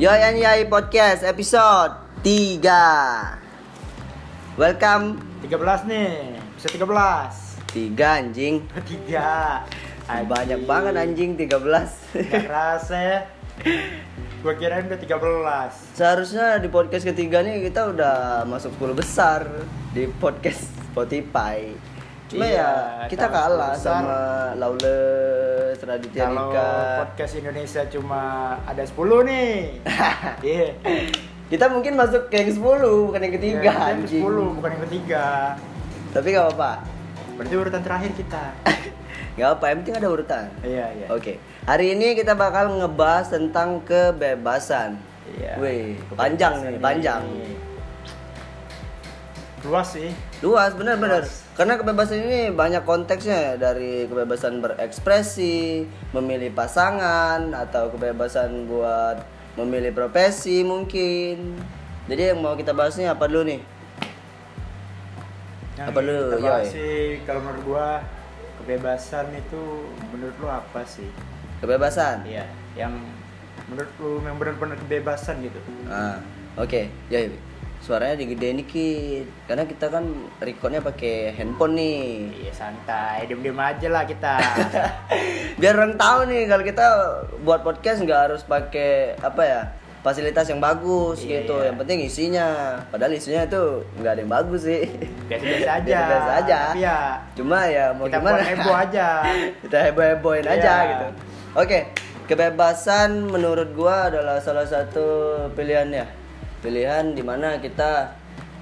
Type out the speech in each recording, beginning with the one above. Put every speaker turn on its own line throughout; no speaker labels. Yoyan Yai Podcast episode 3 Welcome
13 nih, bisa 13
Tiga anjing
Tiga
Banyak banget anjing 13
Gak kerasa ya Gue kirain udah 13
Seharusnya di podcast ketiga nih kita udah masuk 10 besar Di podcast Spotify Cuma
Iya,
ya kita
kalau
kalah
10 besar.
sama Laules, Raditya
Kalau
Dika
podcast Indonesia cuma ada 10 nih Iya
Kita mungkin masuk ke yang 10 bukan yang ketiga
Yang
anjing
Sepuluh, bukan yang ketiga
Tapi gak apa-apa
Berarti urutan terakhir kita
Gak apa, yang penting ada urutan
Iya, iya
Oke, hari ini kita bakal ngebahas tentang kebebasan.
Iya.
Wih, panjang nih, panjang.
Luas sih
Luas, benar-benar.
Luas.
Karena kebebasan ini banyak konteksnya ya, dari kebebasan berekspresi, memilih pasangan, atau kebebasan buat memilih profesi mungkin. Jadi yang mau kita bahasnya apa dulu nih? Apa lu,
kita bahas
Yoy?
sih, kalau menurut gua kebebasan itu menurut lu apa sih?
Kebebasan.
Iya, yang menurut lu yang benar-benar kebebasan gitu.
Ah, oke. Ya, suaranya digedein dikit. Karena kita kan recordnya pakai handphone nih.
Iya santai, diem-diem aja lah kita.
biar orang tahu nih kalau kita buat podcast nggak harus pakai apa ya fasilitas yang bagus
Iya,
gitu
iya.
yang penting isinya padahal isinya tuh nggak ada yang bagus sih
Biasa-biasa aja. Oh,
Biasa-biasa aja.
Tapi ya
cuma ya mau
kita
gimana
buat heboh aja.
kita heboh hebohin aja
Iya.
gitu oke kebebasan menurut gua adalah salah satu pilihannya pilihan dimana kita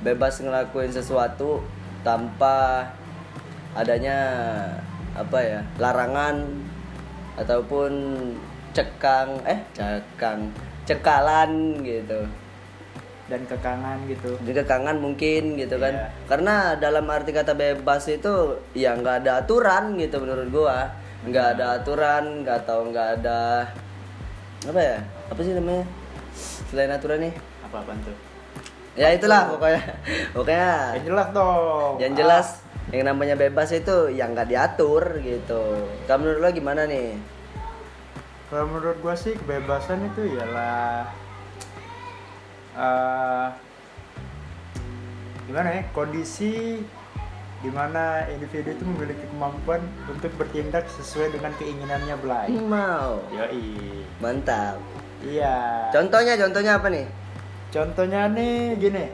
bebas ngelakuin sesuatu tanpa adanya apa ya larangan ataupun cekang eh cekang cekalan gitu
Dan kekangan gitu.
dikekangan mungkin gitu kan
Iya.
karena dalam arti kata bebas itu ya nggak ada aturan gitu menurut gua nggak ada aturan nggak tahu nggak ada apa ya apa sih namanya selain aturan nih
Apa apaan tuh?
ya itulah pokoknya pokoknya
Ah. Yang jelas dong.
yang jelas yang namanya bebas itu yang nggak diatur gitu kamu menurut lo gimana nih
Ah, kalau menurut gua sih kebebasan itu ialah eh gimana ya kondisi dimana individu itu memiliki kemampuan untuk bertindak sesuai dengan keinginannya belai.
mau
Yoi.
mantap
Iya.
contohnya contohnya apa nih
Contohnya nih gini,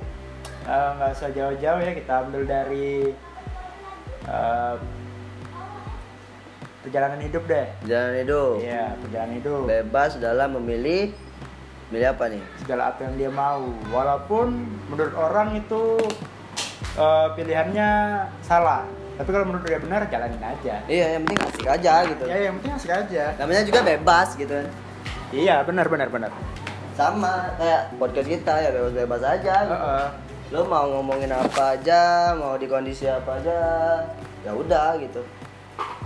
eh, nggak usah jauh-jauh ya kita ambil dari eh, perjalanan hidup deh.
jalan hidup
Iya, perjalanan hidup.
bebas dalam memilih milih apa nih
Segala apa yang dia mau, walaupun menurut orang itu eh, pilihannya salah. Tapi kalau menurut dia benar, jalanin aja.
Iya, yang penting asik aja gitu.
Ya, yang penting asik aja.
Namanya juga bebas gitu kan.
Iya, benar, benar, benar.
Sama kayak podcast kita ya bebas-bebas aja.
Eh, eh.
Lo mau ngomongin apa aja, mau di kondisi apa aja, ya udah gitu.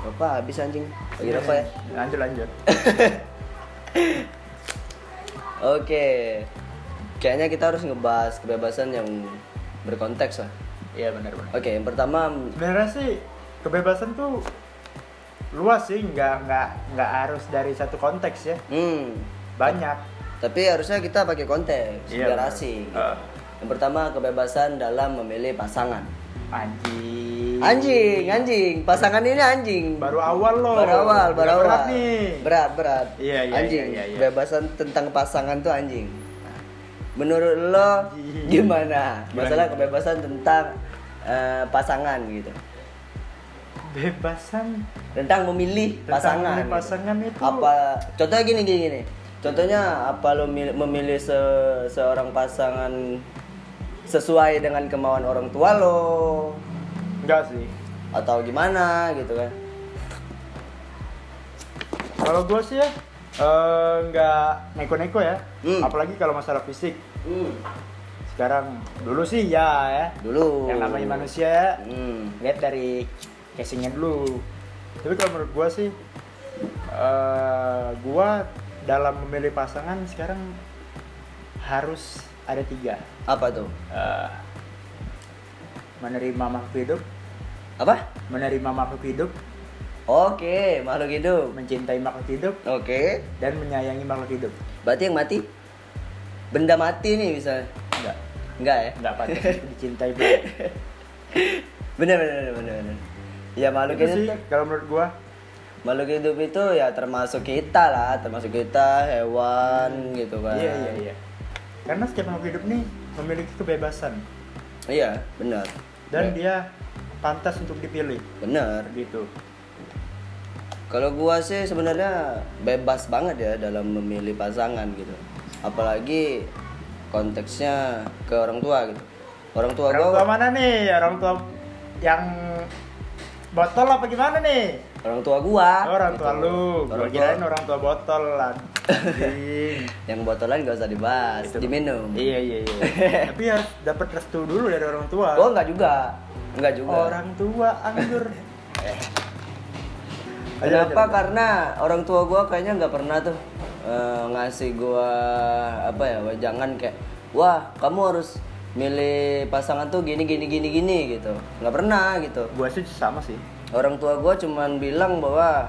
Apa habis anjing? Lagi apa ya?
Lanjut, lanjut.
Oke. Kayaknya kita harus ngebahas kebebasan yang berkonteks lah.
Iya, benar, benar.
Oke, yang pertama
sebenarnya sih kebebasan tuh luas sih nggak nggak nggak harus dari satu konteks ya
hmm,
banyak
tapi harusnya kita pakai konteks,
Iya,
biar asik.
Ah.
Yang pertama kebebasan dalam memilih pasangan.
anjing
Anjing, anjing. Pasangan ini anjing.
baru awal loh
Baru awal, baru
Nggak
awal.
berat nih
Berat, berat.
Iya, iya,
anjing.
iya, iya, iya.
Kebebasan tentang pasangan tuh anjing. Menurut lo
Anjing.
gimana?
Gimana?
Masalah kebebasan tentang eh, pasangan gitu.
bebasan
Tentang memilih
Tentang
pasangan.
memilih
gitu.
pasangan itu.
apa contohnya gini gini gini. Contohnya apa lo mil- memilih se- seorang pasangan sesuai dengan kemauan orang tua lo
enggak sih
atau gimana gitu kan?
kalau gue sih ya eh, nggak neko-neko ya
Hmm.
apalagi kalau masalah fisik
Hmm.
sekarang dulu sih ya ya
dulu
yang namanya manusia ya
hmm.
lihat dari casingnya dulu tapi kalau menurut gua sih eh gua dalam memilih pasangan sekarang harus ada tiga
apa tuh
Eh, menerima makhluk hidup
apa
menerima makhluk hidup
oke makhluk hidup
mencintai makhluk hidup
oke
dan menyayangi makhluk hidup
berarti yang mati benda mati nih misalnya
Enggak.
enggak ya
Enggak pantas untuk dicintai bro.
bener bener bener bener, bener. ya makhluk
Itu sih
hidup
kalau gitu menurut gua
makhluk hidup itu ya termasuk kita lah termasuk kita hewan gitu kan
Iya iya iya. Karena setiap makhluk hidup nih memiliki kebebasan
iya bener Iya.
dan dia pantas untuk dipilih
bener
gitu.
Kalau gua sih sebenarnya bebas banget ya dalam memilih pasangan gitu. Apalagi konteksnya ke orang tua gitu. Orang tua
Orang
gua
tua mana nih? Orang tua yang botol apa gimana nih? Oh,
orang tua gua.
Orang tua
gitu.
lu, gua
Orang tua
kirain orang tua botol lah. Anjing.
yang botolan gak usah dibahas,
Gitu.
diminum.
Iya iya iya. Tapi harus dapat restu dulu dari orang tua.
Oh enggak juga. Enggak juga.
Orang tua anggur.
Eh. Kenapa?
kan?
Karena orang tua gua kayaknya nggak pernah tuh eh, ngasih gua apa ya jangan kayak wah kamu harus milih pasangan tuh gini gini gini gini gitu nggak pernah gitu
Gua sih sama sih.
orang tua gue cuman bilang bahwa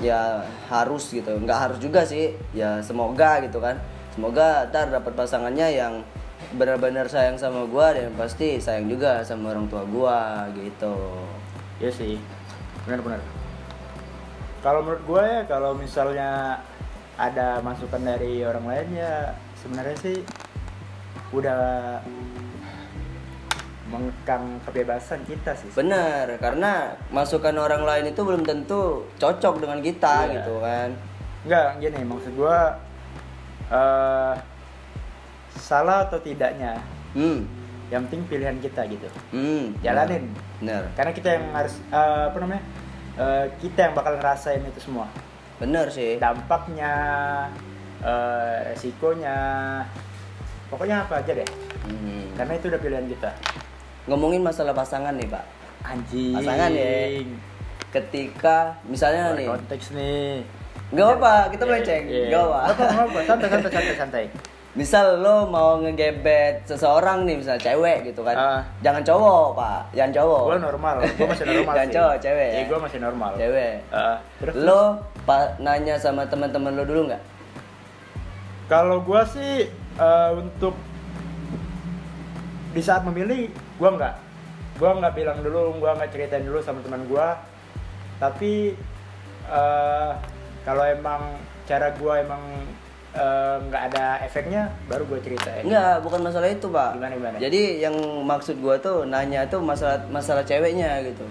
ya harus gitu nggak harus juga sih ya semoga gitu kan semoga ntar dapat pasangannya yang benar-benar sayang sama gue dan pasti sayang juga sama orang tua gue gitu
Iya sih. Benar-benar. Kalau menurut gua ya, kalau misalnya ada masukan dari orang lain ya sebenarnya sih udah mengekang kebebasan kita sih.
bener karena masukan orang lain itu belum tentu cocok dengan kita
Iya.
gitu kan
Enggak, gini maksud gua eh salah atau tidaknya
hmm
yang penting pilihan kita gitu
hmm
jalanin
bener
karena kita yang harus eh, apa namanya eh, kita yang bakal ngerasain itu semua
bener sih
dampaknya eh, resikonya pokoknya apa aja deh
Hmm.
karena itu udah pilihan kita
ngomongin masalah pasangan nih pak
anjing
Pasangan ya. ketika misalnya
Luar
nih
konteks nih
Gak apa, kita melenceng. Gak
Iya. Nggak apa
apa.
nggak apa santai santai santai santai
Misal lo mau ngegebet seseorang nih, misal cewek gitu kan.
Ah.
Jangan cowok, Pak. Jangan cowok.
gue normal gue masih normal
Jangan
sih
cowok, Oh. cewek ya?
gue masih normal
Cewek.
Eh, terus
Lo pa- nanya sama teman-teman lo dulu nggak?
Kalau gua sih eh, untuk di saat memilih gua nggak, gua nggak bilang dulu, gua nggak ceritain dulu sama teman gua. Tapi eh, kalau emang cara gua emang eh, nggak ada efeknya, baru gua ceritain.
Enggak, bukan masalah itu, Pak.
Eh. Gimana, gimana?
Jadi yang maksud gua tuh nanya tuh masalah masalah ceweknya gitu.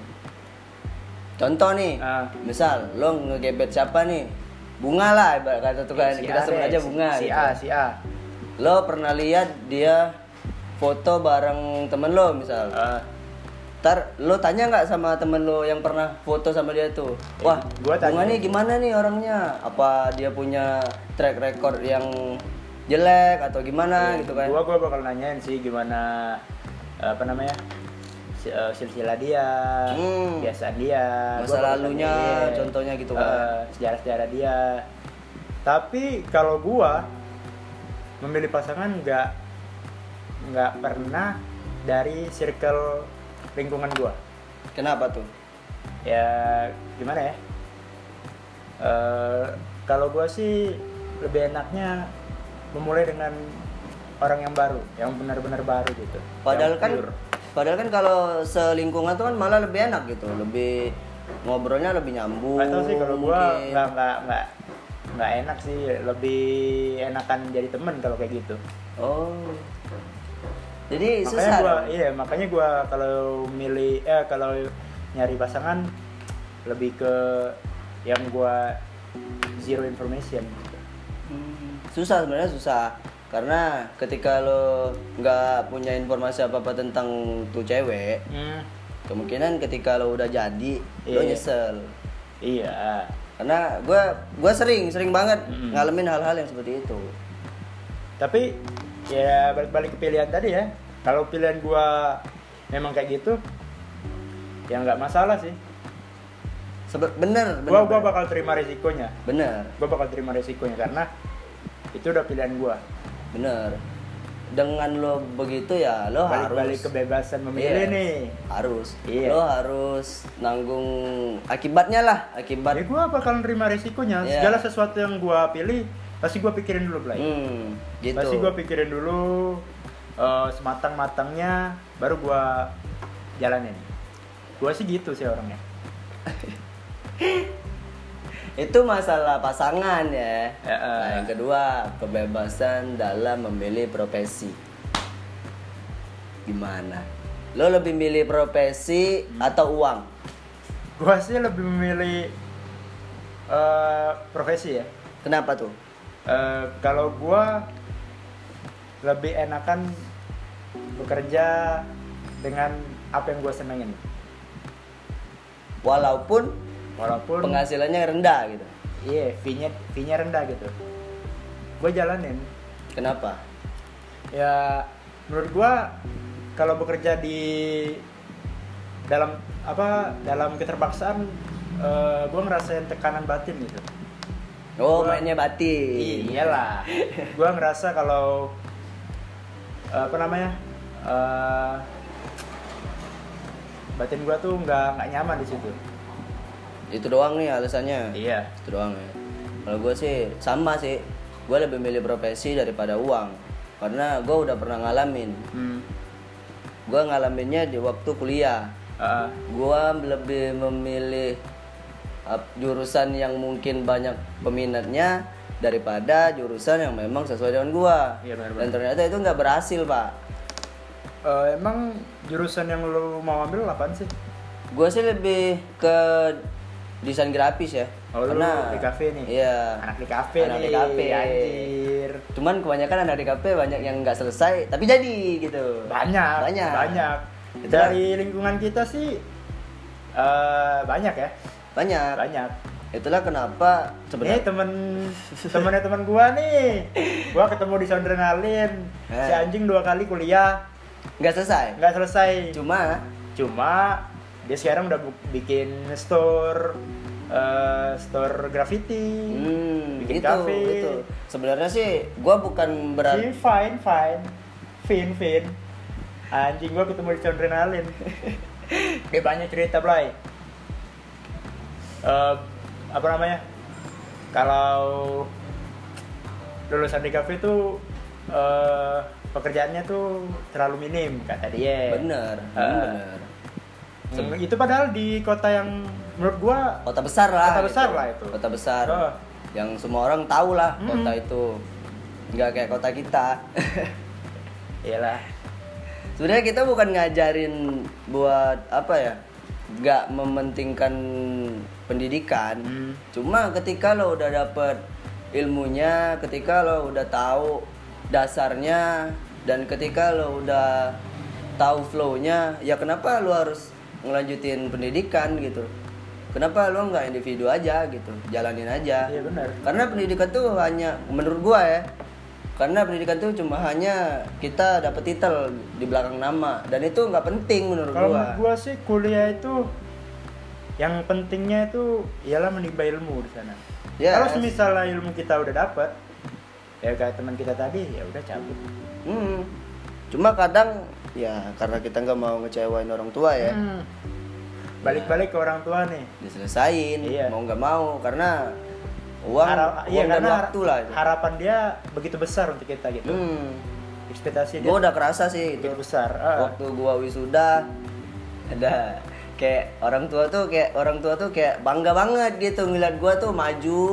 Contoh nih,
Ah.
misal lo ngegebet siapa nih? Bunga lah, ibarat kata tuh kan.
Eh, Si
Kita
A
sebut
deh,
aja
si-
bunga.
Si
gitu.
A, si A.
lo pernah lihat dia foto bareng temen lo misal
Eh,
ntar lo tanya nggak sama temen lo yang pernah foto sama dia tuh wah
gua tanya.
bunga nih gimana nih orangnya apa dia punya track record yang jelek atau gimana gitu kan
Iya, Gua gua bakal nanyain sih gimana eh, apa namanya? si- eh, silsilah dia,
Hmm.
biasa dia,
Masa
bakal
lalunya,
nanyain,
contohnya gitu
eh,
kan.
sejarah-sejarah dia. Tapi kalau gua memilih pasangan nggak nggak pernah dari circle lingkungan gua.
kenapa tuh
Ya gimana ya? Eh, kalau gua sih lebih enaknya memulai dengan orang yang baru, yang benar-benar baru gitu.
padahal
Yang
kan
pure.
padahal kan kalau selingkungan tuh kan malah lebih enak gitu lebih ngobrolnya lebih nyambung
Gak tau sih kalau gua
mungkin.
nggak nggak nggak nggak enak sih lebih enakan jadi temen kalau kayak gitu.
oh jadi
Makanya
susah
gua
dong?
iya makanya gua kalau milih eh kalau nyari pasangan lebih ke yang gua zero information. gitu.
Hmm, susah sebenarnya susah karena ketika lo nggak punya informasi apa apa tentang tuh cewek
Hmm,
kemungkinan ketika lo udah jadi lo
Iya.
nyesel
iya.
karena gue gua sering sering banget
Mm-mm.
ngalamin hal-hal yang seperti itu
Tapi ya balik-balik ke pilihan tadi ya. Kalau pilihan gua memang kayak gitu ya nggak masalah sih.
Sebe- bener bener
Gua gua bakal terima risikonya.
bener
gue bakal terima resikonya karena itu udah pilihan gue
bener dengan lo begitu ya lo harus
balik-balik kebebasan memilih
Iya.
nih
harus
Iya.
lo harus nanggung akibatnya lah
tapi
akibat
Iya. gue Ya bakal terima resikonya
Iya.
segala sesuatu yang gue pilih pasti gue pikirin dulu Blay
Hmm, gitu.
pasti gue pikirin dulu eh, sematang matangnya baru gue jalanin gue sih gitu sih orangnya
Itu masalah pasangan ya.
Ya, eh.
Nah, yang kedua, kebebasan dalam memilih profesi. Gimana? Lo lebih milih profesi atau uang?
gue sih lebih memilih eh, profesi ya
Kenapa tuh?
Eh, kalau gue lebih enakan bekerja dengan apa yang gue senengin
Walaupun
walaupun
penghasilannya rendah gitu.
iya fee-nya fee-nya rendah gitu gue jalanin
Kenapa?
ya menurut gue kalau bekerja di dalam apa dalam keterpaksaan eh, gue ngerasain tekanan batin gitu
Oh,
Gua-
mainnya
Iya.
batin.
iyalah gue ngerasa kalau eh, apa namanya eh, batin gue tuh nggak nggak nyaman di situ
Itu doang nih alasannya.
iya
Itu doang ya. Kalau gue sih sama sih. Gue lebih milih profesi daripada uang. Karena gue udah pernah ngalamin.
hmm.
Gue ngalaminnya di waktu kuliah.
eh,
Gue lebih memilih ap- jurusan yang mungkin banyak peminatnya daripada jurusan yang memang sesuai dengan gue.
Iya,
Dan
benar-benar.
ternyata itu nggak berhasil pak.
eh, emang jurusan yang lu mau ambil apaan sih
Gue sih lebih ke desain grafis ya.
Oh, lu
Karena
di kafe nih?
Iya.
anak di kafe
Anak
nih
di kafe.
anjir
Cuman kebanyakan anak di kafe banyak yang nggak selesai, tapi jadi gitu.
banyak
Banyak.
banyak
Itu
dari lingkungan kita sih eh, banyak ya
Banyak.
banyak Iya,
Itulah kenapa
Nih
sebenarnya
Eh, temen temennya temen gua nih gua ketemu di Sondrenalin
Eh.
si anjing dua kali kuliah
nggak selesai.
nggak selesai
Cuma
cuma dia sekarang udah bu- bikin store eh, store graffiti
hmm,
Bikin
gitu,
kafe.
gitu. Sebenarnya sih gua bukan
si
berarti
Iya, fine fine fin fin anjing gua ketemu di Sondrenalin dia banyak cerita Blay Eh, apa namanya kalau lulusan di kafe tuh eh, pekerjaannya tuh terlalu minim kata dia
bener,
Eh,
bener.
Hmm, itu padahal di kota yang menurut gua
Kota besar lah. gitu.
Kota besar lah itu.
Kota besar.
Oh.
Yang semua orang tahu lah
Hmm.
kota itu. Nggak kayak kota kita.
iyalah
Sebenarnya kita bukan ngajarin buat apa ya? Nggak mementingkan pendidikan.
Hmm.
Cuma ketika lo udah dapet ilmunya, ketika lo udah tahu dasarnya dan ketika lo udah tahu flow-nya, ya kenapa lo harus ngelanjutin pendidikan gitu? Kenapa lo nggak individu aja gitu? Jalanin aja.
iya benar
Karena pendidikan tuh hanya menurut gua ya. Karena pendidikan tuh cuma hanya kita dapat titel di belakang nama dan itu nggak penting menurut
kalau
gua.
menurut gua sih kuliah itu yang pentingnya itu ialah menimba ilmu di sana
Yes.
kalau misalnya ilmu kita udah dapat ya kayak teman kita tadi ya udah cabut
Hmm. Cuma kadang ya karena kita nggak mau ngecewain orang tua ya.
Hmm. balik-balik ke orang tua nih
diselesain
Iya.
mau nggak mau karena uang,
Hara-
uang
iya,
dan
karena
waktu lah itu.
harapan dia begitu besar untuk kita gitu
Hmm.
ekspektasi
Gua
dia
udah kerasa sih itu.
begitu besar Ah.
Waktu gua wisuda ada kayak orang tua tuh kayak orang tua tuh kayak bangga banget gitu ngeliat gua tuh maju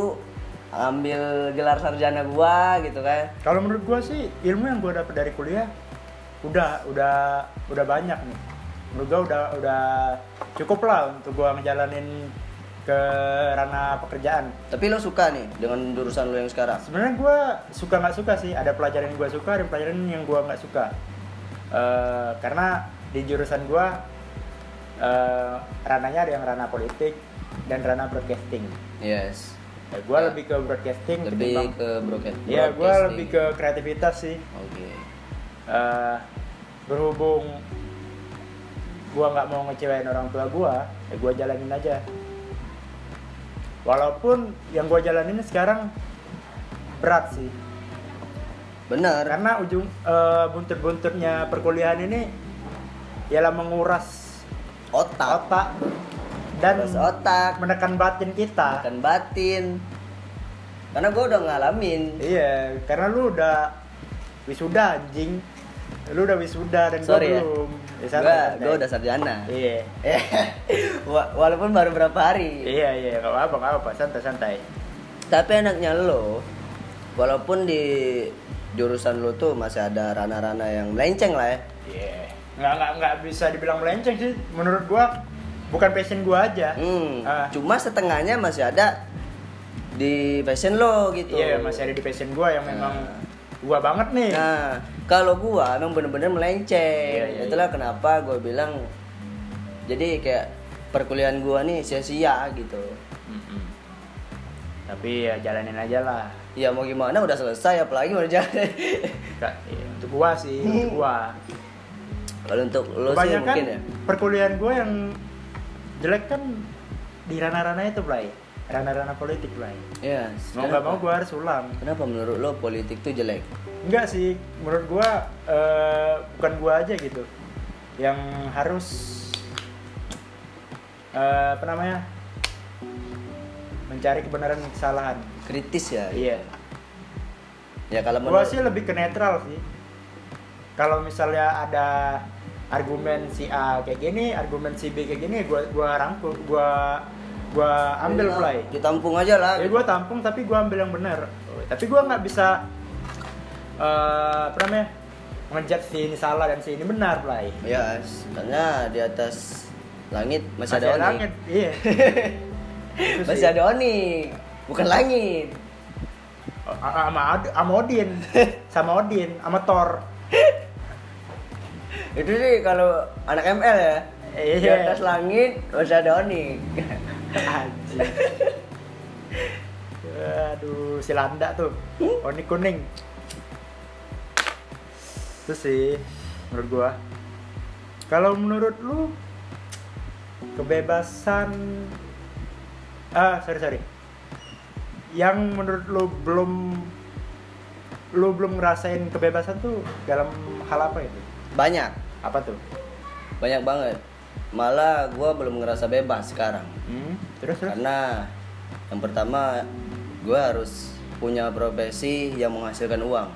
ambil gelar sarjana gua gitu kan.
Kalau menurut gua sih ilmu yang gua dapat dari kuliah udah udah udah banyak nih. Menurut gua udah udah cukup lah untuk gua ngejalanin ke ranah pekerjaan.
Tapi lo suka nih dengan jurusan lo yang sekarang?
Sebenarnya gua suka nggak suka sih. Ada pelajaran yang gua suka, ada pelajaran yang gua nggak suka. Eh, karena di jurusan gua eh, ranahnya ada yang ranah politik dan ranah broadcasting.
Yes.
Eh, gua lebih ke broadcasting
Ya. Lebih
ketimbang-
ke broadcast.
Iya,
broadcasting.
gua lebih ke kreativitas sih.
Oke.
eh berhubung gua nggak mau ngecewain orang tua gua, ya gua jalanin aja. Walaupun yang gua jalanin sekarang berat sih,
Bener.
karena ujung eh, buntut-buntutnya perkuliahan ini ialah menguras
Otak,
otak dan
Terus otak,
menekan batin kita.
makan batin. karena gue udah ngalamin
Iya, karena lu udah wisuda anjing. Lu udah wisuda dan
Sorry
gua
ya.
belum. Ya, santai,
gue
santai.
gue udah sarjana
Iya.
Wa- walaupun baru berapa hari
Iya, iya, enggak apa-apa, nggak apa-apa, santai-santai.
tapi enaknya lo walaupun di jurusan lo tuh masih ada ranah-ranah yang melenceng lah ya
Iya. Nggak, nggak, nggak bisa dibilang melenceng sih menurut gua. Bukan passion gua aja.
Hmm,
Ah.
cuma setengahnya masih ada di passion lo gitu.
Iya, masih ada di passion gua yang memang
Nah.
gua banget nih.
Nah, kalau gua emang bener-bener melenceng.
Iya, iya,
Itulah kenapa gua bilang jadi kayak perkuliahan gua nih sia-sia gitu.
Mm-mm. Tapi ya jalanin aja lah.
Ya mau gimana udah selesai apalagi mau jalan.
Nggak, iya, Untuk gua sih, untuk gua.
kalau untuk lo sih
Kebanyakan
mungkin ya.
perkuliahan gue yang jelek kan di ranah-ranah itu, Blay. Ranah-ranah politik, Blay.
Iya.
Mau nggak mau gue harus ulang.
Kenapa menurut lo politik tuh jelek?
Enggak sih, menurut gue bukan gue aja gitu. Yang harus eh apa namanya? Mencari kebenaran dan kesalahan.
Kritis ya.
Iya.
Ya kalau
Gua
menurut
sih lebih ke netral sih. Kalau misalnya ada argumen si A kayak gini, argumen si B kayak gini, gua gua rangkul, gua gua ambil
Iya,
play.
Ditampung aja lah.
Ya gua tampung tapi gua ambil yang benar. Tapi gua nggak bisa eh apa namanya? ngejat si ini salah dan si ini benar play.
Ya, karena di atas langit masih, ada Oni.
langit, iya. Itu
Masih
sih.
ada Oni, bukan langit.
A- sama Ad- sama Odin, sama Odin, sama Thor.
Itu sih kalau anak ML ya. Di
Iya.
atas langit masih ada Oni.
Anjir. Aduh, si Landa tuh. Oni kuning. Itu sih menurut gua. Kalau menurut lu kebebasan ah sorry sorry yang menurut lu belum lu belum ngerasain kebebasan tuh dalam hal apa itu
Banyak,
apa tuh
banyak banget. Malah gua belum ngerasa bebas sekarang.
hmm? terus terus
Karena yang pertama gua harus punya profesi yang menghasilkan uang.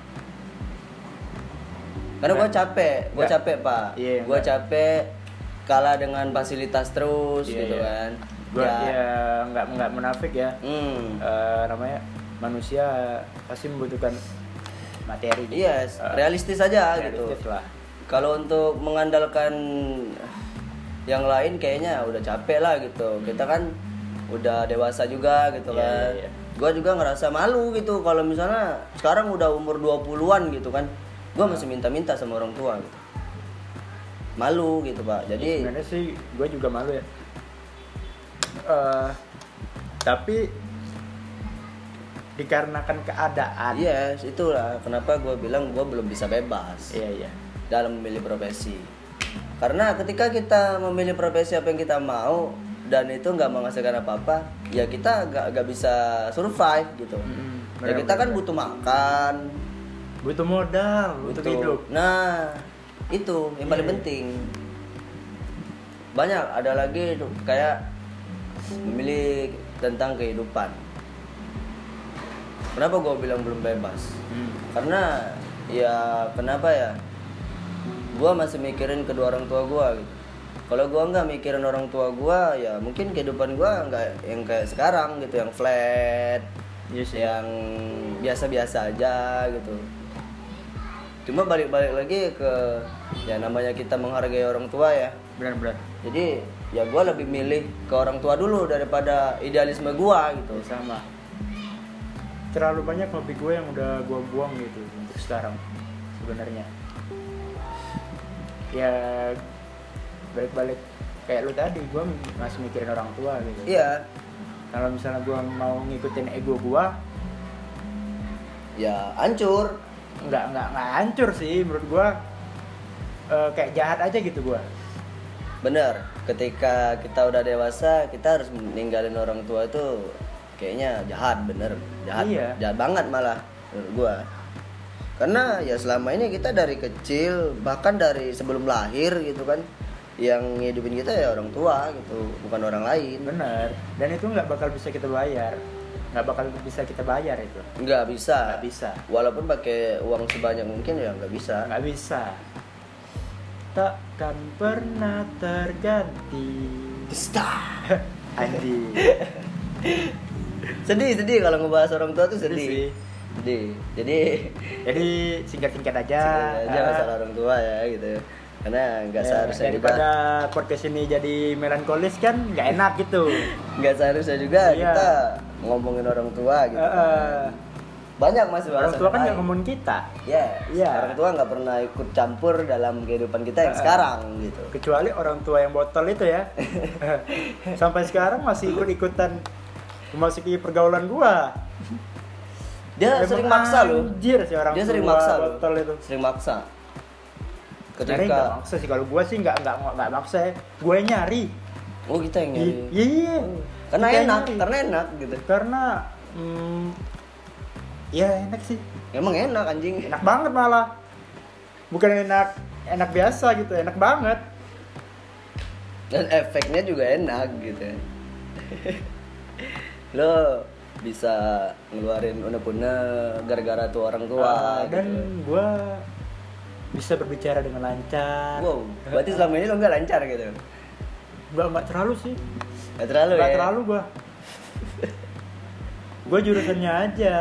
Karena gua capek, gua
Nggak.
capek, Pak.
Nah. Iya,
gua
nggak.
capek kalah dengan fasilitas terus
Iya,
gitu
iya.
kan.
gua
Ya,
ya nggak nggak munafik ya
Hmm.
eh namanya manusia pasti membutuhkan materi gitu.
Iya,
Eh,
realistis aja gitu.
realistis lah
Kalau untuk mengandalkan yang lain kayaknya udah capek lah gitu. Kita kan udah dewasa juga gitu
Iya,
kan.
iya, iya.
Gua juga ngerasa malu gitu kalau misalnya sekarang udah umur 20-an gitu kan.
Ah.
Gua masih minta-minta sama orang tua gitu. Malu gitu, Pak. Jadi
Ya, Iya, sebenarnya sih gue juga malu ya Eh, tapi dikarenakan keadaan
yes, itulah kenapa gua bilang gua belum bisa bebas.
iya iya
dalam memilih profesi. Karena ketika kita memilih profesi apa yang kita mau dan itu nggak menghasilkan apa-apa, ya kita nggak nggak bisa survive gitu.
Mm-mm,
Ya
benar,
kita kan
benar.
butuh makan,
butuh modal butuh hidup
Nah, itu yang paling
Iya.
penting. Banyak ada lagi tuh, kayak memilih tentang kehidupan. Kenapa gue bilang belum bebas?
Hmm.
karena ya kenapa ya gua masih mikirin kedua orang tua gua gitu kalau gua nggak mikirin orang tua gua ya mungkin kehidupan gua nggak yang kayak sekarang gitu yang flat
Iya sih.
yang biasa-biasa aja gitu cuma balik-balik lagi ke ya namanya kita menghargai orang tua ya
benar benar
jadi ya gua lebih milih ke orang tua dulu daripada idealisme gua gitu
Ya, sama terlalu banyak hobi gue yang udah gue buang gitu untuk sekarang sebenarnya ya balik-balik kayak lu tadi gue masih mikirin orang tua gitu
iya
kalau misalnya gue mau ngikutin ego gue
ya hancur
nggak nggak nggak hancur sih menurut gue Eh, kayak jahat aja gitu gue
Bener, ketika kita udah dewasa, kita harus ninggalin orang tua tuh kayaknya jahat bener, jahat,
Iya.
jahat banget malah menurut gua. Karena ya selama ini kita dari kecil bahkan dari sebelum lahir gitu kan, yang ngidupin kita ya orang tua gitu, bukan orang lain.
bener dan itu nggak bakal bisa kita bayar nggak bakal bisa kita bayar itu
nggak bisa
nggak bisa
walaupun pakai uang sebanyak mungkin ya nggak bisa
nggak bisa takkan pernah terganti Andi
sedih sedih kalau ngebahas orang tua tuh
Sedih sih.
sedih sedih jadi
jadi singkat-singkat aja
jangan
Ah,
masalah Iya, orang tua ya gitu karena nggak
ya,
seharusnya kita
daripada podcast ini jadi melankolis kan nggak enak gitu
nggak seharusnya juga
Iya.
kita ngomongin orang tua gitu
Eh, eh,
banyak masih
orang
bahasan
tua kan
lain.
yang ngomongin kita
ya
Iya.
orang tua nggak pernah ikut campur dalam kehidupan kita yang
Eh, eh.
sekarang gitu
kecuali orang tua yang botol itu ya sampai sekarang masih ikut-ikutan memasuki pergaulan gua
dia
Emang
sering maksa loh
anjir sih orang
dia sering
tua
maksa loh
botol itu
sering maksa
Sebenarnya nggak
ketika
maksa sih kalau gua sih nggak nggak nggak maksa ya gue nyari
oh kita yang
I-
nyari
iya
karena
Kita
enak
nyari.
karena enak gitu
karena mm, ya enak sih
emang enak anjing
enak banget malah bukan enak enak biasa gitu enak banget
dan efeknya juga enak gitu lo bisa ngeluarin unek-unek gara-gara tuh orang tua
Ah, dan
gitu.
gua bisa berbicara dengan lancar Eh,
wow berarti selama ini lo nggak lancar gitu
gua nggak terlalu sih
nggak terlalu
nggak
ya
terlalu gua gua jurusannya aja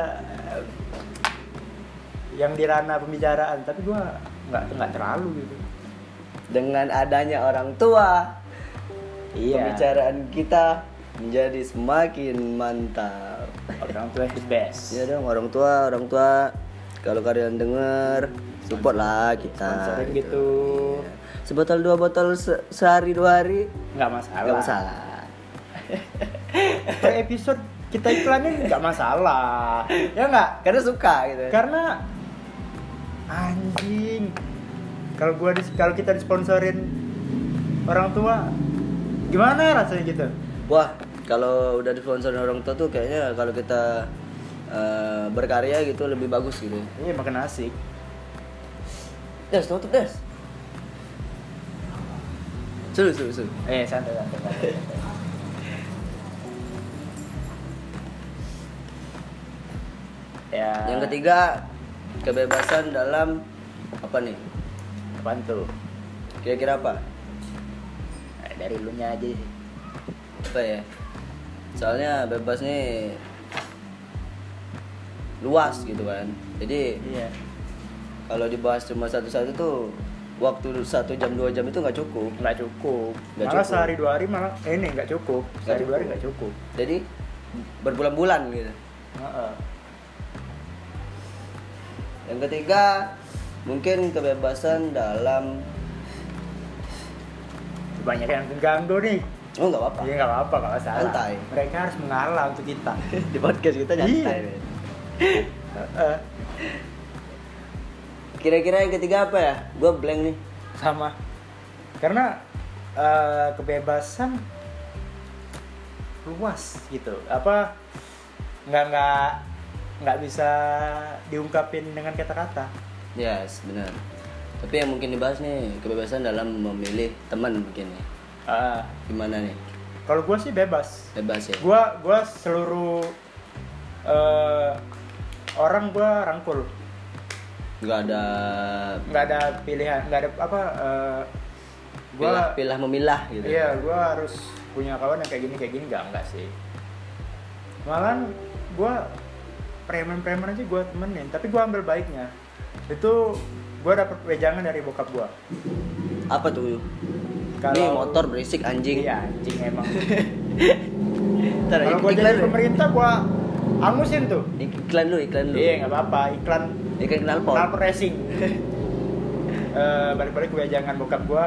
eh, yang di ranah pembicaraan tapi gua nggak nggak terlalu gitu
dengan adanya orang tua
Iya.
pembicaraan kita menjadi semakin mantap
orang tua is the best
ya dong orang tua orang tua kalau kalian denger support lah kita
sponsorin
gitu.
gitu
sebotol dua botol se- sehari dua hari
nggak masalah
nggak masalah
per episode kita iklanin nggak masalah ya nggak
karena suka gitu
karena anjing kalau gua dis- kalau kita disponsorin orang tua gimana rasanya gitu
wah kalau udah disponsorin orang tua tuh kayaknya kalau kita eh, berkarya gitu lebih bagus gitu
iya makan asik
des tutup des suruh suruh suruh
eh santai santai, santai santai. ya
yang ketiga kebebasan dalam apa nih
apaan tuh
kira-kira apa
Eh, dari lu nya aja sih.
apa ya soalnya bebas nih luas gitu kan jadi
iya
kalau dibahas cuma satu-satu tuh waktu satu jam dua jam itu nggak cukup
nggak cukup
Nggak
malah
cukup.
sehari dua hari malah eh, ini nggak cukup sehari dua hari nggak cukup
jadi berbulan-bulan gitu
Heeh.
yang ketiga mungkin kebebasan dalam
banyak yang keganggu nih
oh nggak apa-apa
ya nggak apa-apa nggak masalah
Santai.
mereka harus mengalah untuk kita
di podcast kita nyantai
Iya.
men.
Heeh.
kira-kira yang ketiga apa ya gue blank nih
sama karena eh, kebebasan luas gitu apa nggak nggak nggak bisa diungkapin dengan kata-kata
yes benar tapi yang mungkin dibahas nih kebebasan dalam memilih teman mungkin nih
Eh,
gimana nih
kalau gue sih bebas
bebas ya
gua gua seluruh eh, orang gua rangkul
nggak ada
nggak ada pilihan nggak ada apa eh, gua
pilah pilah memilah gitu
iya gua harus punya kawan yang kayak gini kayak gini nggak nggak sih malahan gua preman-preman aja gua temenin tapi gua ambil baiknya itu gua dapet wejangan dari bokap gua
apa tuh
Kalau-
nih motor berisik anjing
iya anjing emang
Ntar, ya,
kalau gua
iklan
jadi
lu.
pemerintah gua angusin tuh
iklan lu iklan lu
iya nggak apa-apa iklan
iklan kenal pot
Kenal racing. Eh, balik-balik gue jangan bokap gue.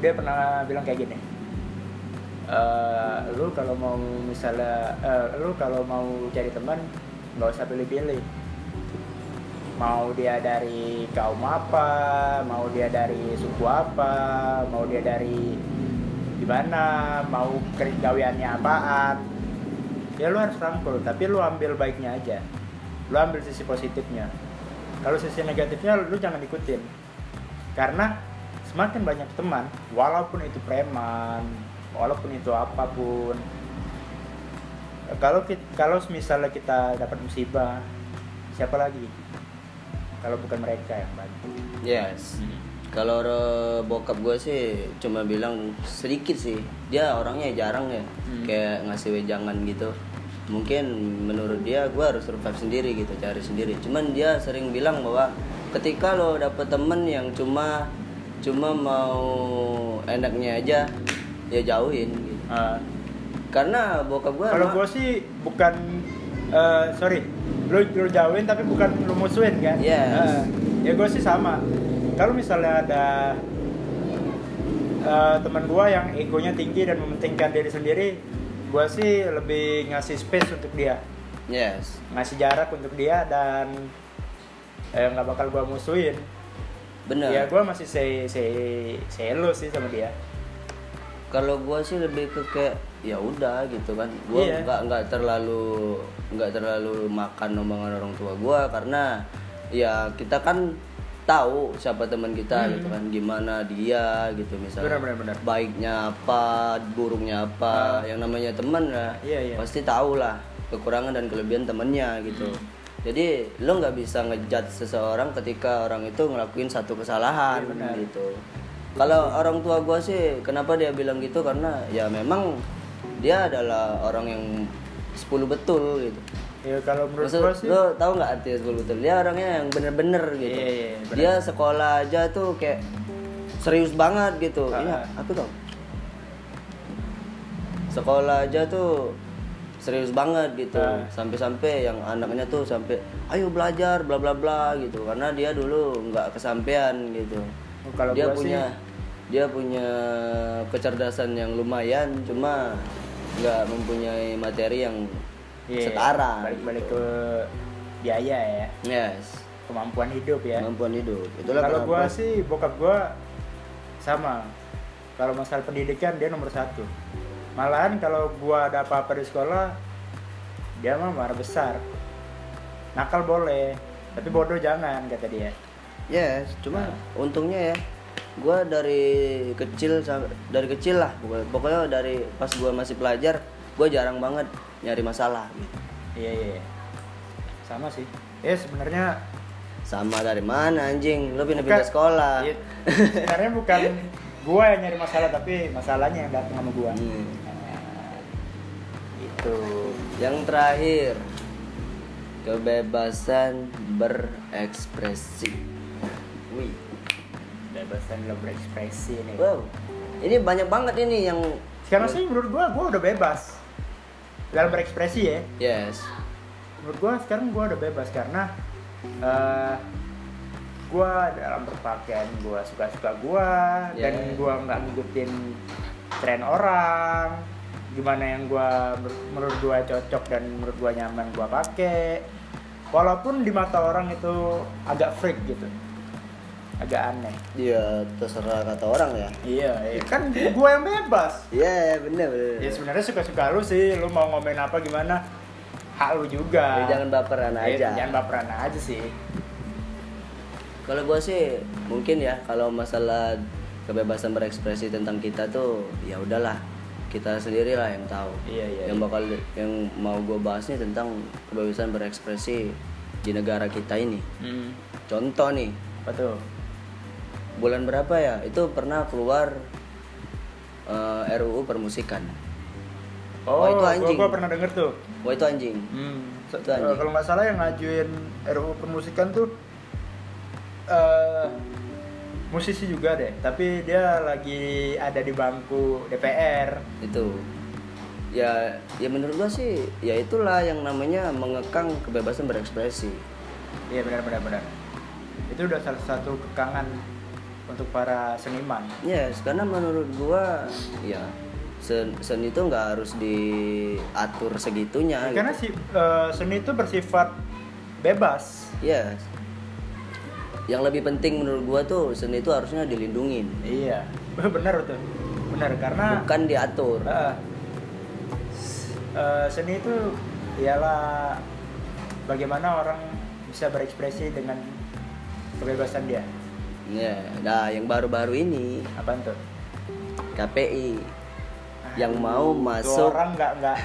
Dia pernah bilang kayak gini. Eh, lu kalau mau misalnya eh, lu kalau mau cari teman nggak usah pilih-pilih. Mau dia dari kaum apa, mau dia dari suku apa, mau dia dari di mana, mau kerjawiannya apaan. Ya lu harus rangkul, tapi lu ambil baiknya aja lu ambil sisi positifnya kalau sisi negatifnya lu jangan ikutin karena semakin banyak teman walaupun itu preman walaupun itu apapun kalau ki- kalau misalnya kita dapat musibah siapa lagi kalau bukan mereka yang bantu
Yes. Kalau re- bokap gue sih cuma bilang sedikit sih. Dia orangnya jarang ya,
Hmm.
kayak ngasih wejangan gitu. Mungkin menurut dia gue harus survive sendiri gitu, cari sendiri. Cuman dia sering bilang bahwa ketika lo dapet temen yang cuma cuma mau enaknya aja, ya jauhin. Gitu.
Ah.
Karena bokap gue
kalau gue sih bukan eh, sorry lu lu jauhin tapi bukan lu musuhin kan
Yes.
Eh, ya gue sih sama kalau misalnya ada eh, teman gue yang egonya tinggi dan mementingkan diri sendiri gue sih lebih ngasih space untuk dia
yes.
ngasih jarak untuk dia dan eh, nggak bakal gue musuhin
Bener.
ya gue masih say say say hello sih sama dia
kalau gua sih lebih ke kayak ya udah gitu kan gua
Iya.
nggak nggak terlalu nggak terlalu makan omongan orang tua gua karena ya kita kan tahu siapa teman kita gitu kan gimana dia gitu misalnya
Benar, benar, benar.
baiknya apa buruknya apa yang namanya teman lah
Ah. Iya, iya.
pasti tahu lah kekurangan dan kelebihan temennya gitu
Hmm.
jadi lo nggak bisa ngejudge seseorang ketika orang itu ngelakuin satu kesalahan
Iya, benar.
gitu kalau orang tua gue sih kenapa dia bilang gitu karena ya memang dia adalah orang yang 10 betul gitu
ya kalau menurut
Maksud,
gue sih
lo tau nggak artinya 10 betul? Dia orangnya yang bener-bener gitu.
Iya, iya, bener.
Dia sekolah aja tuh kayak serius banget gitu.
Ah.
Iya, apa dong? Sekolah aja tuh serius banget gitu.
Ah.
Sampai-sampai yang anaknya tuh sampai ayo belajar bla bla bla gitu. Karena dia dulu nggak kesampean gitu.
Oh, kalau
dia
gua sih-
punya dia punya kecerdasan yang lumayan cuma nggak mempunyai materi yang
Iya,
setara gitu.
balik-balik ke biaya ya
Yes,
kemampuan hidup ya
kemampuan hidup. Itulah
kalau
kenapa-
gua sih bokap gua sama kalau masalah pendidikan dia nomor satu malahan kalau gua ada apa-apa di sekolah dia mah marah besar nakal boleh tapi bodoh jangan kata dia
Yes, cuma
Nah.
untungnya ya, gua dari kecil sam- dari kecil lah, pokoknya- pokoknya dari pas gua masih pelajar, gua jarang banget nyari masalah. Gitu.
iya iya iya. sama sih ya sebenarnya
Sama dari mana anjing? Lo pindah-pindah
Bukan.
sekolah.
iya, sebenarnya bukan gua yang nyari masalah tapi masalahnya yang datang sama gua Gitu.
Hmm.
itu
Yang terakhir, kebebasan berekspresi. Wih.
bebasan lo berekspresi nih
Wow. Ini banyak banget ini yang
Sekarang sih menurut gua gua udah bebas dalam berekspresi ya.
Yes.
Menurut gua sekarang gua udah bebas karena eh gua dalam berpakaian gua suka-suka gua dan
Yeah.
gua nggak ngikutin tren orang. Gimana yang gua menur- menurut gua cocok dan menurut gua nyaman gua pakai. Walaupun di mata orang itu agak freak gitu. Agak aneh.
Dia terserah kata orang ya.
Iya, kan gua yang bebas.
Iya, bener bener.
Ya sebenarnya suka-suka lu sih, lu mau ngomen apa gimana hak lu
Ya,
juga.
jangan baperan
Ya,
aja.
Jangan baperan aja sih.
Kalau gue sih mungkin ya kalau masalah kebebasan berekspresi tentang kita tuh ya udahlah kita sendirilah yang tahu.
Iya, iya,
Yang bakal yang mau gue bahasnya tentang kebebasan berekspresi di negara kita ini.
Hmm.
Contoh nih
Apa tuh?
bulan berapa ya itu pernah keluar eh, RUU permusikan.
Oh,
itu
gua-
anjing.
Gua, pernah denger tuh.
Wah itu anjing.
Se-
Itu anjing.
eh, Kalau nggak salah yang ngajuin RUU permusikan tuh eh musisi juga deh, tapi dia lagi ada di bangku DPR.
itu ya ya menurut gua sih ya itulah yang namanya mengekang kebebasan berekspresi
Iya benar benar benar. Itu udah salah satu kekangan untuk para seniman.
yes karena menurut gua ya sen, seni itu nggak harus diatur segitunya
Ya, karena
gitu.
si eh, seni itu bersifat bebas.
yes yang lebih penting menurut gua tuh seni itu harusnya dilindungin
Iya, benar tuh. Benar karena
bukan diatur
eh, s- eh, seni itu ialah bagaimana orang bisa berekspresi dengan kebebasan dia.
ya nah yang baru-baru ini
Apaan tuh?
KPI yang mau
Tuh Nah,
masuk
orang nggak nggak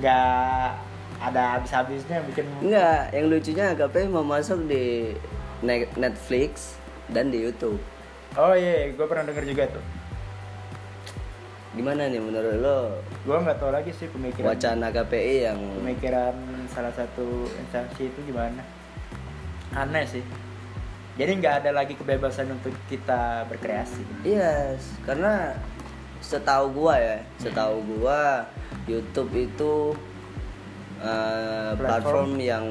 nggak ada habis-habisnya bikin
Enggak, yang lucunya AKP mau masuk di Ne- Netflix dan di YouTube.
oh iya gue pernah denger juga tuh
Gimana nih menurut lo
gue nggak tahu lagi sih pemikiran
wacana KPI yang
pemikiran salah satu instansi itu gimana aneh sih jadi nggak ada lagi kebebasan untuk kita berkreasi
Iya, karena setahu gua ya, setahu gua YouTube itu eh,
Platform.
platform yang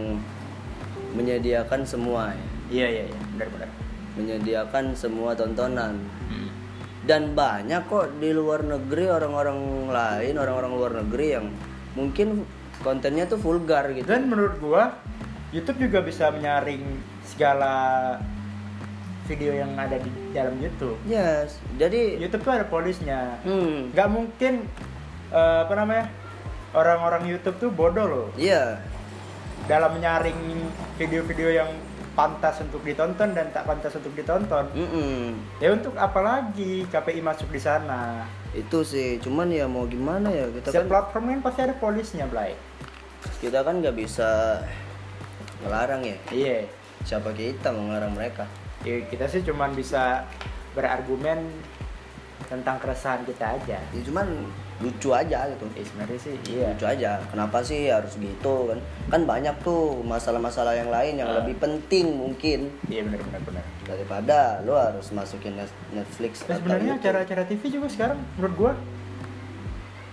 menyediakan semua ya.
iya iya iya benar-benar
menyediakan semua tontonan
Hmm.
dan banyak kok di luar negeri orang-orang lain orang-orang luar negeri yang mungkin kontennya tuh vulgar gitu
dan kan menurut gua YouTube juga bisa menyaring segala video yang ada di dalam YouTube
yes jadi
YouTube tuh ada polisnya
hmm
nggak mungkin eh, apa namanya orang-orang YouTube tuh bodoh loh
iya
dalam menyaring video-video yang pantas untuk ditonton dan tak pantas untuk ditonton
Mm-mm.
ya untuk apa lagi KPI masuk di sana
itu sih cuman ya mau gimana ya kita
setiap
kan
platform kan pasti ada polisnya Blay
kita kan nggak bisa ngelarang ya
iya
siapa kita mau ngelarang mereka
Ya, kita sih cuman bisa berargumen tentang keresahan kita aja
ya cuman lucu aja gitu
ya sebenarnya sih iya
lucu aja kenapa sih harus gitu kan kan banyak tuh masalah-masalah yang lain yang
Ah.
lebih penting mungkin
iya benar benar benar
daripada lo harus masukin Net- Netflix
Nah,
atau
sebenarnya
YouTube.
acara-acara TV juga sekarang menurut gua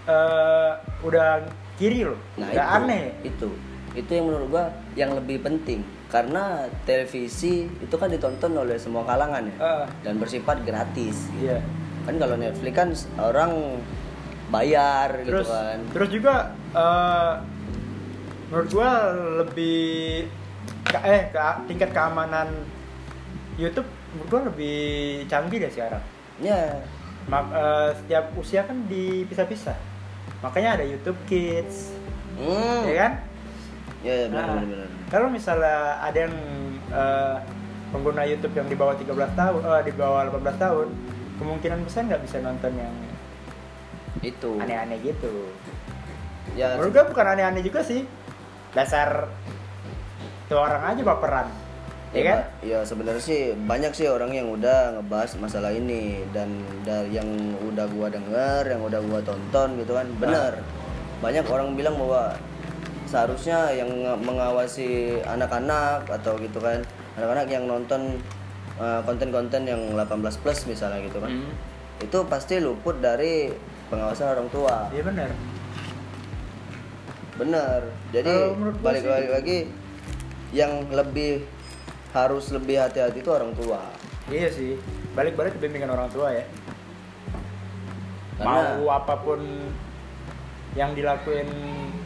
eh udah kiri loh,
nah
udah
itu,
aneh.
itu itu yang menurut gua yang lebih penting karena televisi itu kan ditonton oleh semua kalangan ya
Eh,
dan bersifat gratis
iya.
kan kalau Netflix kan orang bayar
Terus
gitu kan
terus juga eh menurut gua lebih ke- eh ke- tingkat keamanan YouTube menurut gua lebih canggih deh sekarang.
ya
Ma- eh, setiap usia kan dipisah-pisah. Makanya ada YouTube Kids,
hmm.
ya kan?
ya, ya benar
Nah,
benar, benar.
Kalau misalnya ada yang eh, pengguna YouTube yang di bawah 13 tahun, eh, di bawah 18 tahun, kemungkinan besar nggak bisa nonton yang
itu
aneh-aneh gitu.
ya
Menurut gue bukan aneh-aneh juga sih. Dasar tuh orang aja baperan. Ya kan?
Ba- Ya sebenarnya sih banyak sih orang yang udah ngebahas masalah ini dan dari yang udah gua denger, yang udah gua tonton gitu kan, benar.
Ah.
Banyak orang bilang bahwa seharusnya yang nge- mengawasi anak-anak atau gitu kan, anak-anak yang nonton uh, konten-konten yang 18 plus misalnya gitu kan. Itu pasti luput dari pengawasan orang tua.
Iya benar.
Bener. Jadi
Kalau menurut gua
balik
sih- gitu.
balik lagi yang lebih harus lebih hati-hati itu orang tua.
Iya sih. Balik-balik ke bimbingan orang tua ya.
Karena-
Mau apapun yang dilakuin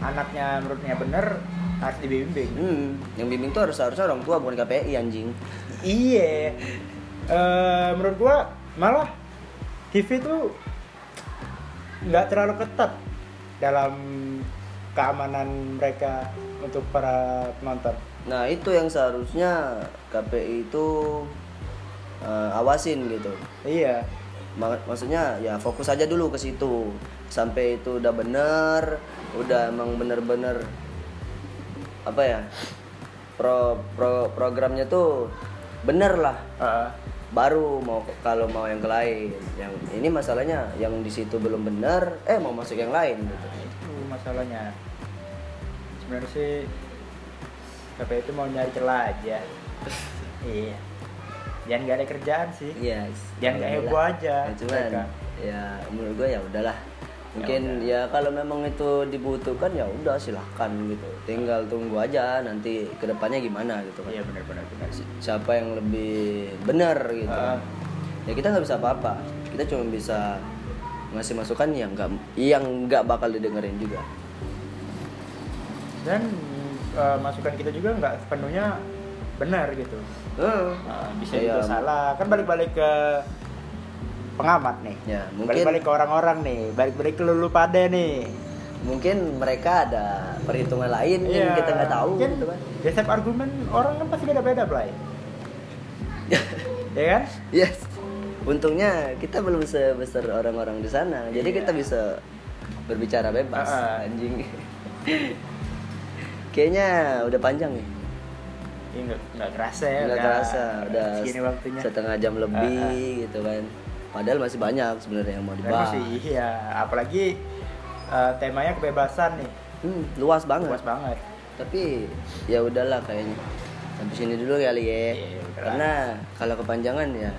anaknya menurutnya bener harus dibimbing.
Hmm, yang bimbing tuh harus harusnya orang tua bukan KPI anjing.
Iya. Eh, menurut gua malah TV tuh nggak terlalu ketat dalam keamanan mereka untuk para penonton.
Nah, itu yang seharusnya KPI itu eh, awasin gitu.
Iya.
Ma- Maksudnya ya fokus aja dulu ke situ sampai itu udah bener, udah emang bener-bener apa ya pro, pro programnya tuh bener lah
Heeh.
baru mau ke- kalau mau yang ke lain yang ini masalahnya yang di situ belum benar eh mau masuk yang lain gitu
itu masalahnya. Sebenarnya sih KPI itu mau nyari celah aja. iya. Jangan nggak ada kerjaan sih.
yes
Jangan nggak heboh aja.
ya, cuman
mereka.
ya menurut gue ya udahlah mungkin ya, kalau memang itu dibutuhkan ya udah silahkan gitu tinggal tunggu aja nanti kedepannya gimana gitu kan
Iya benar-benar benar sih.
siapa yang lebih benar gitu
Ah.
ya kita nggak bisa apa-apa kita cuma bisa ngasih masukan yang nggak yang nggak bakal didengerin juga
dan eh, masukan kita juga nggak sepenuhnya benar gitu
Heeh.
Eh, bisa
Iya.
juga salah kan balik-balik ke pengamat nih
ya mungkin
balik-balik ke orang-orang nih balik-balik ke lulu pada nih
mungkin mereka ada perhitungan lain yang kita nggak tahu
kan
gitu kan
ya, setiap argumen orang kan pasti beda-beda Blay ya kan
yes untungnya kita belum sebesar orang-orang di sana jadi
Iya.
kita bisa berbicara bebas
Ah, ah.
anjing Kayaknya udah panjang ya.
Ini Iya, nggak nggak kerasa ya.
Nggak
udah
kerasa, udah
segini waktunya. Ah,
setengah jam lebih gitu kan. Padahal masih banyak sebenarnya yang mau
Dan
dibahas.
masih iya, apalagi eh, temanya kebebasan nih.
Hmm, luas banget.
Luas banget.
Tapi ya udahlah kayaknya. Sampai sini dulu kali ya.
Iya, udahlah.
Karena kalau kepanjangan ya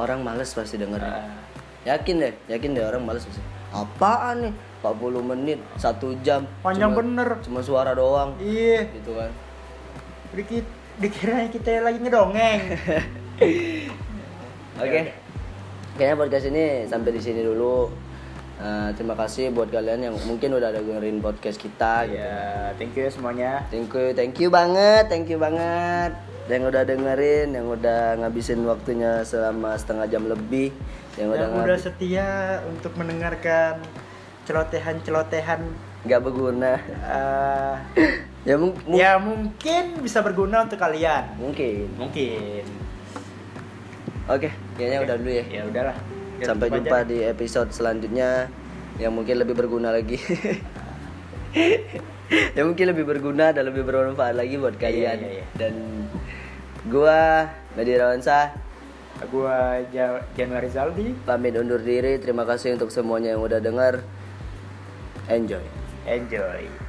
orang males pasti dengerin.
Eh,
Yakin deh, yakin deh orang males pasti. Apaan nih? 40 menit, satu jam.
panjang
cuma,
bener.
cuma suara doang.
Iya,
Gitu kan.
dikit dikira kita lagi ngedongeng. Iya, Ya
Oke. Kayaknya podcast ini sampai di sini dulu. Eh, terima kasih buat kalian yang mungkin udah dengerin podcast kita. gitu.
Ya, thank you semuanya.
Thank you, thank you banget, thank you banget. Yang udah dengerin, yang udah ngabisin waktunya selama setengah jam lebih, yang, udah
Yang udah
ngabis-
setia untuk mendengarkan celotehan-celotehan
nggak berguna.
eh,
ya mung- mung-
ya mungkin bisa berguna untuk kalian.
mungkin.
Mungkin.
Oke, kayaknya udah dulu ya.
Ya udahlah. Ya,
Sampai
tutup
jumpa
aja.
di episode selanjutnya yang mungkin lebih berguna lagi. yang mungkin lebih berguna dan lebih bermanfaat lagi buat kalian.
iya, iya.
Dan gua Nadi Rawansa
Gua Ja- Januari Zaldi.
pamit undur diri. Terima kasih untuk semuanya yang udah dengar. Enjoy.
Enjoy.